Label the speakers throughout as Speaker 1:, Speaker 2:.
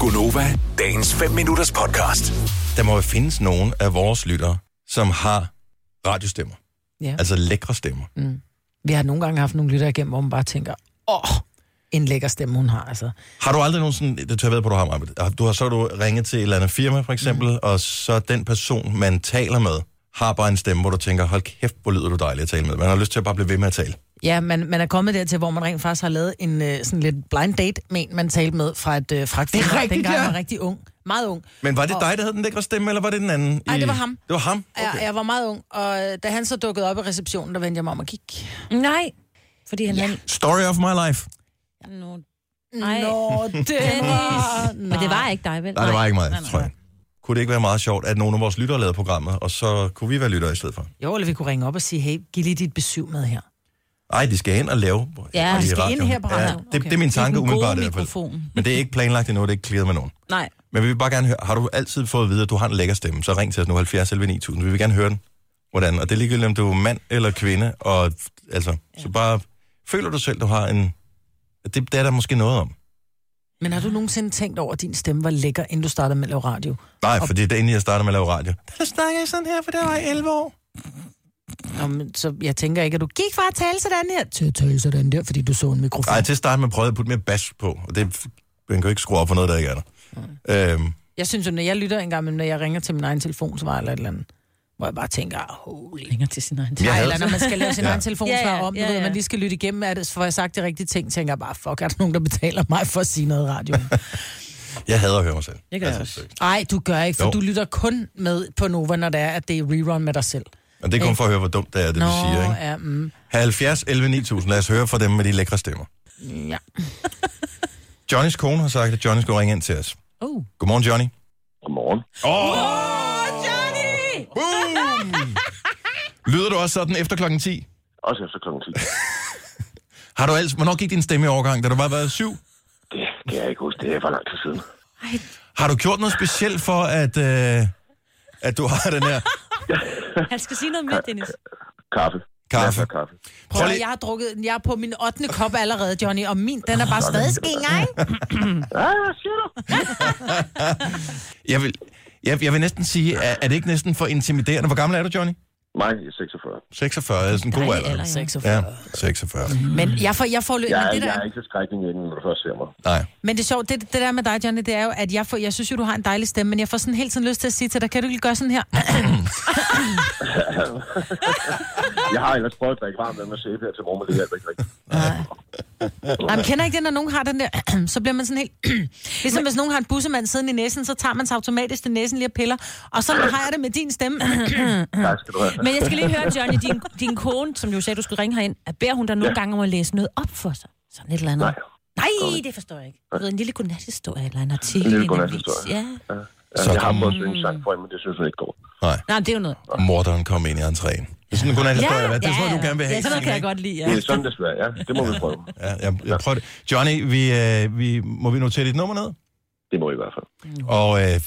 Speaker 1: Gunova, dagens 5 minutters podcast.
Speaker 2: Der må jo findes nogen af vores lyttere, som har radiostemmer.
Speaker 3: Ja.
Speaker 2: Altså lækre stemmer. Mm.
Speaker 3: Vi har nogle gange haft nogle lytter igennem, hvor man bare tænker, åh, en lækker stemme, hun har. Altså.
Speaker 2: Har du aldrig nogen sådan, det tør jeg ved på, du har, Marvind. Har- Du har så har du ringet til et eller andet firma, for eksempel, mm. og så den person, man taler med, har bare en stemme, hvor du tænker, hold kæft, hvor lyder du dejlig at tale med. Man har lyst til at bare blive ved med at tale.
Speaker 3: Ja, man, man er kommet dertil, hvor man rent faktisk har lavet en øh, sådan lidt blind date med en, man talte med fra et øh, fragtfirma.
Speaker 2: Det er rigtigt,
Speaker 3: Dengang
Speaker 2: ja.
Speaker 3: jeg var rigtig ung. Meget ung.
Speaker 2: Men var det dig, der havde den lækre stemme, eller var det den anden?
Speaker 3: Ej, det var ham.
Speaker 2: Det var ham?
Speaker 3: Okay. Jeg, jeg var meget ung, og øh, da han så dukkede op i receptionen, der vendte jeg mig om og gik.
Speaker 4: Nej, fordi han... Ja.
Speaker 2: Story of my life.
Speaker 4: Nu,
Speaker 3: Nej.
Speaker 4: Nej.
Speaker 3: Nå, det var... Nej.
Speaker 4: men det var ikke dig, vel?
Speaker 2: Nej, det var ikke mig, tror jeg. Kunne det ikke være meget sjovt, at nogle af vores lyttere lavede programmet, og så kunne vi være lyttere i stedet for?
Speaker 3: Jo, eller vi kunne ringe op og sige, hey, giv lige dit besøv med her.
Speaker 2: Nej, de skal hen og lave.
Speaker 4: Ja,
Speaker 2: og
Speaker 4: de
Speaker 3: skal ind her på radioen.
Speaker 2: det,
Speaker 3: Okay.
Speaker 2: det, er min tanke
Speaker 4: den gode
Speaker 2: umiddelbart i hvert fald.
Speaker 4: mikrofon.
Speaker 2: Men det er ikke planlagt endnu, det er ikke klaret med nogen.
Speaker 4: Nej.
Speaker 2: Men vi vil bare gerne høre, har du altid fået at vide, at du har en lækker stemme, så ring til os nu 70 11 9000. Vi vil gerne høre den. Hvordan? Og det er ligegyldigt, om du er mand eller kvinde, og altså, så bare føler du selv, du har en... at Det, det er der måske noget om.
Speaker 3: Men har du nogensinde tænkt over, at din stemme var lækker, inden du startede med at lave radio?
Speaker 2: Nej, fordi det er inden jeg startede med at lave radio. Der snakker jeg sådan her, for der var jeg 11 år.
Speaker 3: Nå, men, så jeg tænker ikke, at du gik fra at tale sådan her til at tale sådan der, fordi du så en mikrofon.
Speaker 2: Nej, til at starte med prøvede jeg at putte mere bas på, og det, man kan jo ikke skrue op for noget, der ikke er der. Øhm,
Speaker 3: Jeg synes jo, når jeg lytter engang, men når jeg ringer til min egen telefonsvar eller et eller andet, hvor jeg bare tænker, holy...
Speaker 4: Ringer til sin egen
Speaker 2: Jeg
Speaker 3: Ej,
Speaker 2: havde-
Speaker 3: eller når man skal lave sin
Speaker 2: Ja.
Speaker 3: egen telefonsvar
Speaker 4: Ja, ja,
Speaker 3: om, du
Speaker 4: ja,
Speaker 3: ved,
Speaker 4: ja.
Speaker 3: man lige skal lytte igennem, er det, for jeg sagt de rigtige ting, tænker jeg bare, fuck, er der nogen, der betaler mig for at sige noget i radioen?
Speaker 2: jeg hader at høre mig selv.
Speaker 4: Det gør jeg
Speaker 2: Altså,
Speaker 4: også.
Speaker 3: Nej, du gør ikke, for
Speaker 2: Jo.
Speaker 3: jo. du lytter kun med på Nova, når det er, at det er rerun med dig selv.
Speaker 2: Og det er kun for at høre, hvor dumt det er, det vi siger, ikke?
Speaker 3: ja, mm,
Speaker 2: 70 11 9000. Lad os høre fra dem med de lækre stemmer.
Speaker 3: ja.
Speaker 2: Johnnys kone har sagt, at Johnny skulle ringe ind til os.
Speaker 4: Oh.
Speaker 2: Godmorgen, Johnny.
Speaker 5: Godmorgen.
Speaker 2: Boom! Lyder du også sådan efter klokken 10?
Speaker 5: Også efter klokken 10.
Speaker 2: Har du altså, hvornår gik din stemme i overgang, da du bare var syv?
Speaker 5: Det kan jeg ikke huske. Det er for lang tid siden.
Speaker 2: Har du gjort noget specielt for, at, øh, at du har den her
Speaker 4: Han skal sige noget mere, Dennis.
Speaker 5: Kaffe.
Speaker 2: kaffe?
Speaker 5: Masser af kaffe.
Speaker 3: Prøv,
Speaker 2: Prøv
Speaker 3: at-
Speaker 2: lige,
Speaker 3: jeg har drukket, jeg er på min 8. kop allerede, Johnny, og min, den er bare stadig skinger, ikke?
Speaker 5: Ja, ja, siger du?
Speaker 2: jeg, vil, jeg, jeg vil næsten sige, er, er det ikke næsten for intimiderende? Hvor gammel er du, Johnny?
Speaker 5: Mig er 46.
Speaker 2: 46, er sådan en god
Speaker 4: Dejlig
Speaker 2: alder.
Speaker 4: alder,
Speaker 2: Ja, 46.
Speaker 3: Men jeg får, jeg får lø-
Speaker 5: Jeg,
Speaker 3: men
Speaker 5: er,
Speaker 3: det der,
Speaker 5: jeg er ikke så skrækkelig inden, når du først ser mig.
Speaker 2: Nej.
Speaker 3: Men det er sjovt, det, det der med dig, Johnny, det er jo, at jeg, får, jeg synes jo, du har en dejlig stemme, men jeg får sådan hele tiden lyst til at sige til dig, kan du ikke lige gøre sådan her?
Speaker 5: Jeg har ellers prøvet at drikke varmt vand med sæbe her til morgen, men det hjælper ikke rigtigt.
Speaker 3: Jamen, kender I ikke det, når nogen har den der, så bliver man sådan helt... ligesom hvis nogen har en bussemand siden i næsen, så tager man sig automatisk til næsen lige og piller, og så har jeg det med din stemme.
Speaker 5: Tak skal du have.
Speaker 4: Men jeg skal lige høre, Johnny, din, din kone, som jo sagde, du skulle ringe herind, at beder hun dig nogle ja. gange om at læse noget op for sig? Sådan et eller andet.
Speaker 5: Nej.
Speaker 4: Nej, det forstår jeg ikke. Du ved, en lille godnathistorie eller en artikel.
Speaker 5: En
Speaker 4: i
Speaker 5: lille
Speaker 4: avis.
Speaker 5: godnathistorie.
Speaker 4: Ja.
Speaker 5: Ja,
Speaker 2: Så
Speaker 5: Altså, jeg har
Speaker 2: kom-
Speaker 5: prøvet at synge en sang for hende, men det synes hun ikke går.
Speaker 2: Nej.
Speaker 4: Nej, men det er jo noget.
Speaker 2: Og morderen kom ind i entréen. Det er sådan en godnathistorie, ja, hvad? Det er sådan noget, du gerne vil have.
Speaker 4: Ja, sådan noget
Speaker 2: Signe,
Speaker 4: kan
Speaker 2: ikke?
Speaker 4: jeg godt lide, ja.
Speaker 5: Det er sådan desværre, ja. Det må vi prøve.
Speaker 2: Ja, jeg, jeg prøver det. Johnny, vi, øh, vi, må vi notere dit nummer ned?
Speaker 5: Det må I i hvert fald.
Speaker 2: Og øh,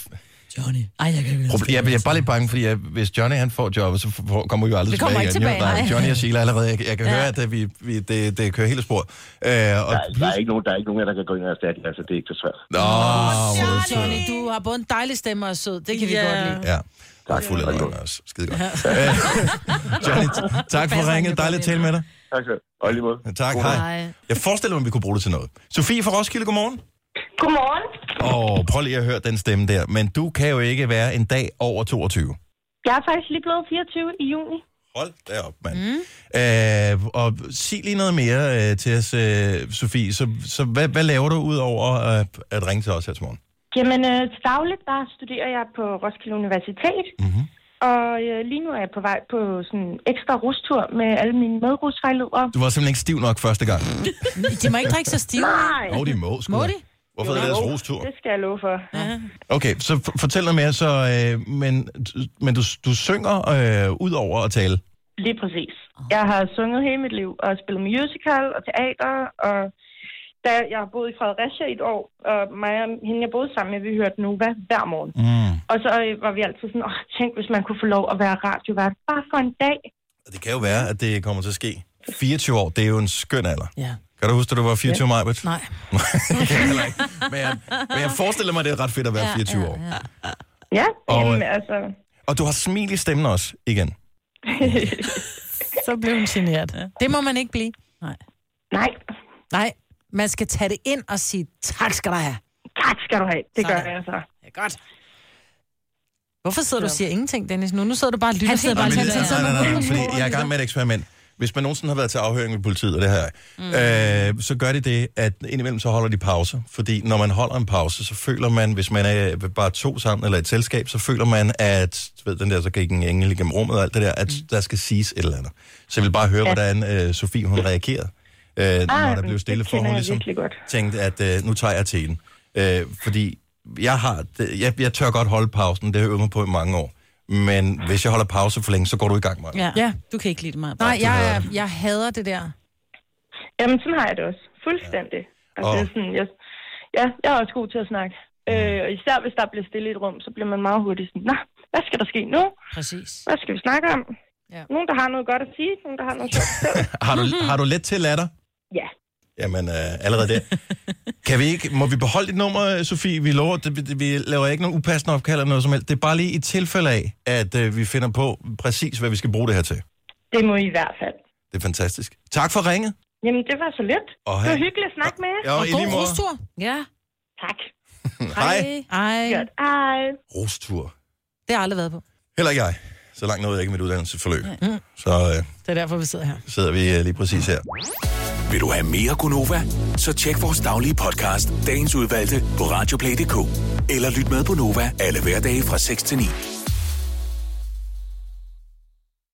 Speaker 4: Johnny. Ej, jeg kan ikke
Speaker 2: proble- jeg, jeg er bare lidt bange, fordi jeg, hvis Johnny han får jobbet, så får, kommer vi jo aldrig
Speaker 3: Vi kommer
Speaker 2: tilbage
Speaker 3: ikke
Speaker 2: igen. Jo,
Speaker 3: tilbage,
Speaker 2: nej,
Speaker 3: nej.
Speaker 2: Johnny og Sheila allerede. Jeg, jeg kan ja. høre, at det, vi, vi, det, det kører hele sporet. Øh, og
Speaker 5: Der, er- der, er ikke nogen, der er ikke nogen af jer, der kan gå ind og erstatte jer, altså det er ikke så svært.
Speaker 2: Nå, hvor er du sød.
Speaker 3: Johnny, du har både en dejlig stemme og er sød, det kan vi
Speaker 4: Ja.
Speaker 3: godt lide.
Speaker 2: Ja. Der er fuld af løgn også. Skide godt. Øh, Johnny, t- tak for ringet. Dejligt at tale med dig.
Speaker 5: Tak skal du have. Og i lige måde.
Speaker 2: Tak, hej. Jeg forestiller mig, at vi kunne bruge det til noget. Sofie fra Roskilde, godmorgen.
Speaker 6: Godmorgen.
Speaker 2: Og prøv lige at høre den stemme der. Men du kan jo ikke være en dag over 22.
Speaker 6: Jeg er faktisk lige blevet 24 i juni.
Speaker 2: Hold da op, mand. Mm. Øh, og sig lige noget mere øh, til os, øh, Sofie. Så, så hvad, hvad laver du ud over øh, at ringe til os her til morgen?
Speaker 6: Jamen, øh, til dagligt, der studerer jeg på Roskilde Universitet.
Speaker 2: Mhm.
Speaker 6: Mm-hmm. Og øh, lige nu er jeg på vej på sådan en ekstra rustur med alle mine medrusvejledere.
Speaker 2: Du var simpelthen ikke stiv nok første gang.
Speaker 3: De må ikke drikke så stivt.
Speaker 6: Nej,
Speaker 2: Åh, oh, de må, sgu.
Speaker 3: Må
Speaker 2: da.
Speaker 3: de?
Speaker 2: Hvorfor er det deres rostur?
Speaker 6: det skal jeg love for. Ja.
Speaker 2: Okay, så f- fortæl noget mere. Så, øh, men men du, du synger øh, ud over at tale.
Speaker 6: Lige præcis. Jeg har sunget hele mit liv og spillet musical og teater. Og da jeg har boet i Fredericia i et år, og mig og hende, jeg boede sammen med, vi hørte Nova hver morgen.
Speaker 2: Mm.
Speaker 6: Og så øh, var vi altid sådan, åh, tænk, hvis man kunne få lov at være radiovært bare for en dag.
Speaker 2: Det kan jo være, at det kommer til at ske. 24 år, det er jo en skøn alder.
Speaker 3: Ja.
Speaker 2: Kan du huske, at du var 24 ja. maj, Britt?
Speaker 4: Nej.
Speaker 2: Heller ikke. men, jeg, men jeg forestiller mig, det er ret fedt at være 24 år.
Speaker 6: Ja,
Speaker 2: Og,
Speaker 6: jamen,
Speaker 2: øh,
Speaker 6: altså...
Speaker 2: Og du har smil i stemmen også, igen.
Speaker 3: Så blev hun generet. Ja. Det må man ikke blive.
Speaker 6: Nej,
Speaker 3: Nej, man skal tage det ind og sige, tak skal du have.
Speaker 6: tak skal du have. Det gør
Speaker 3: Sådan.
Speaker 6: jeg så.
Speaker 3: Hvorfor sidder du og siger ingenting, Dennis, nu? Nu sidder du bare og lytter.
Speaker 4: Han
Speaker 3: til
Speaker 4: sidder bare
Speaker 2: Nå,
Speaker 3: mig.
Speaker 4: og
Speaker 2: men,
Speaker 4: lytter
Speaker 2: nej,
Speaker 4: til
Speaker 2: nej, nej, nej, fordi jeg er i gang med et eksperiment. Hvis man nogensinde har været til afhøring ved politiet, og det her, mm. øh, så gør de det, at indimellem så holder de pauser. Fordi når man holder en pause, så føler man, hvis man er bare to sammen eller et selskab, så føler man, at du ved, den der, så gik en engel igennem rummet og alt det der, at mm. der skal siges et eller andet. Så jeg vil bare høre, hvordan øh, Sofie hun reagerede, øh, når der
Speaker 6: men
Speaker 2: blev
Speaker 6: Ah, det
Speaker 2: stille, for
Speaker 6: kender
Speaker 2: hun
Speaker 6: jeg
Speaker 2: ligesom
Speaker 6: virkelig godt.
Speaker 2: tænkte, at øh, nu tager jeg telen. Øh, fordi jeg, har, det- jeg, jeg tør godt holde pausen, det har jeg øvet mig på i mange år. Men hvis jeg holder pause for længe, så går du i gang, med.
Speaker 4: Ja.
Speaker 3: Ja.
Speaker 4: ja. Du kan ikke lide det meget.
Speaker 3: Nej, jeg,
Speaker 2: hader
Speaker 3: er- jeg hader det der.
Speaker 6: Jamen, sådan har jeg det også. Fuldstændig. Altså,
Speaker 2: Og-
Speaker 6: det er sådan, jeg, ja, jeg er også god til at snakke. Øh, og især hvis der bliver stille i et rum, så bliver man meget hurtigt sådan, Nå, hvad skal der ske nu?
Speaker 4: Præcis.
Speaker 6: Hvad skal vi snakke om?
Speaker 3: Ja.
Speaker 6: Ja. Nogen, der har noget godt at sige, nogen, der har noget sjovt at fortælle.
Speaker 2: Har du,
Speaker 3: Mhm.
Speaker 2: har du let til latter?
Speaker 6: Ja.
Speaker 2: Jamen, øh, allerede der. Kan vi ikke, må vi beholde dit nummer, Sofie? Vi lover, det, det- vi laver ikke nogen upassende opkald eller noget som helst. Det er bare lige i tilfælde af, at øh, vi finder på præcis, hvad vi skal bruge det her til.
Speaker 6: Det må I i hvert fald.
Speaker 2: Det er fantastisk. Tak for ringet.
Speaker 6: Jamen, det var så lidt.
Speaker 2: Og
Speaker 6: Det var
Speaker 2: ha-
Speaker 6: hyggeligt at snakke med jer.
Speaker 2: Ja, og i
Speaker 3: God
Speaker 2: lige måde.
Speaker 3: rustur.
Speaker 4: Ja.
Speaker 6: Tak.
Speaker 2: Hej.
Speaker 3: Ej,
Speaker 6: Godt. Hej.
Speaker 2: Rustur.
Speaker 3: det har jeg aldrig været på.
Speaker 2: Heller ikke jeg. Så langt nåede jeg ikke i mit uddannelsesforløb.
Speaker 3: Mm.
Speaker 2: Så øh,
Speaker 3: Det er derfor, vi sidder her.
Speaker 2: sidder vi øh, lige præcis her.
Speaker 1: Vil du have mere Gunova? Så tjek vores daglige podcast, dagens udvalgte, på radioplay.dk. Eller lyt med på Nova alle hverdage fra 6 til 9.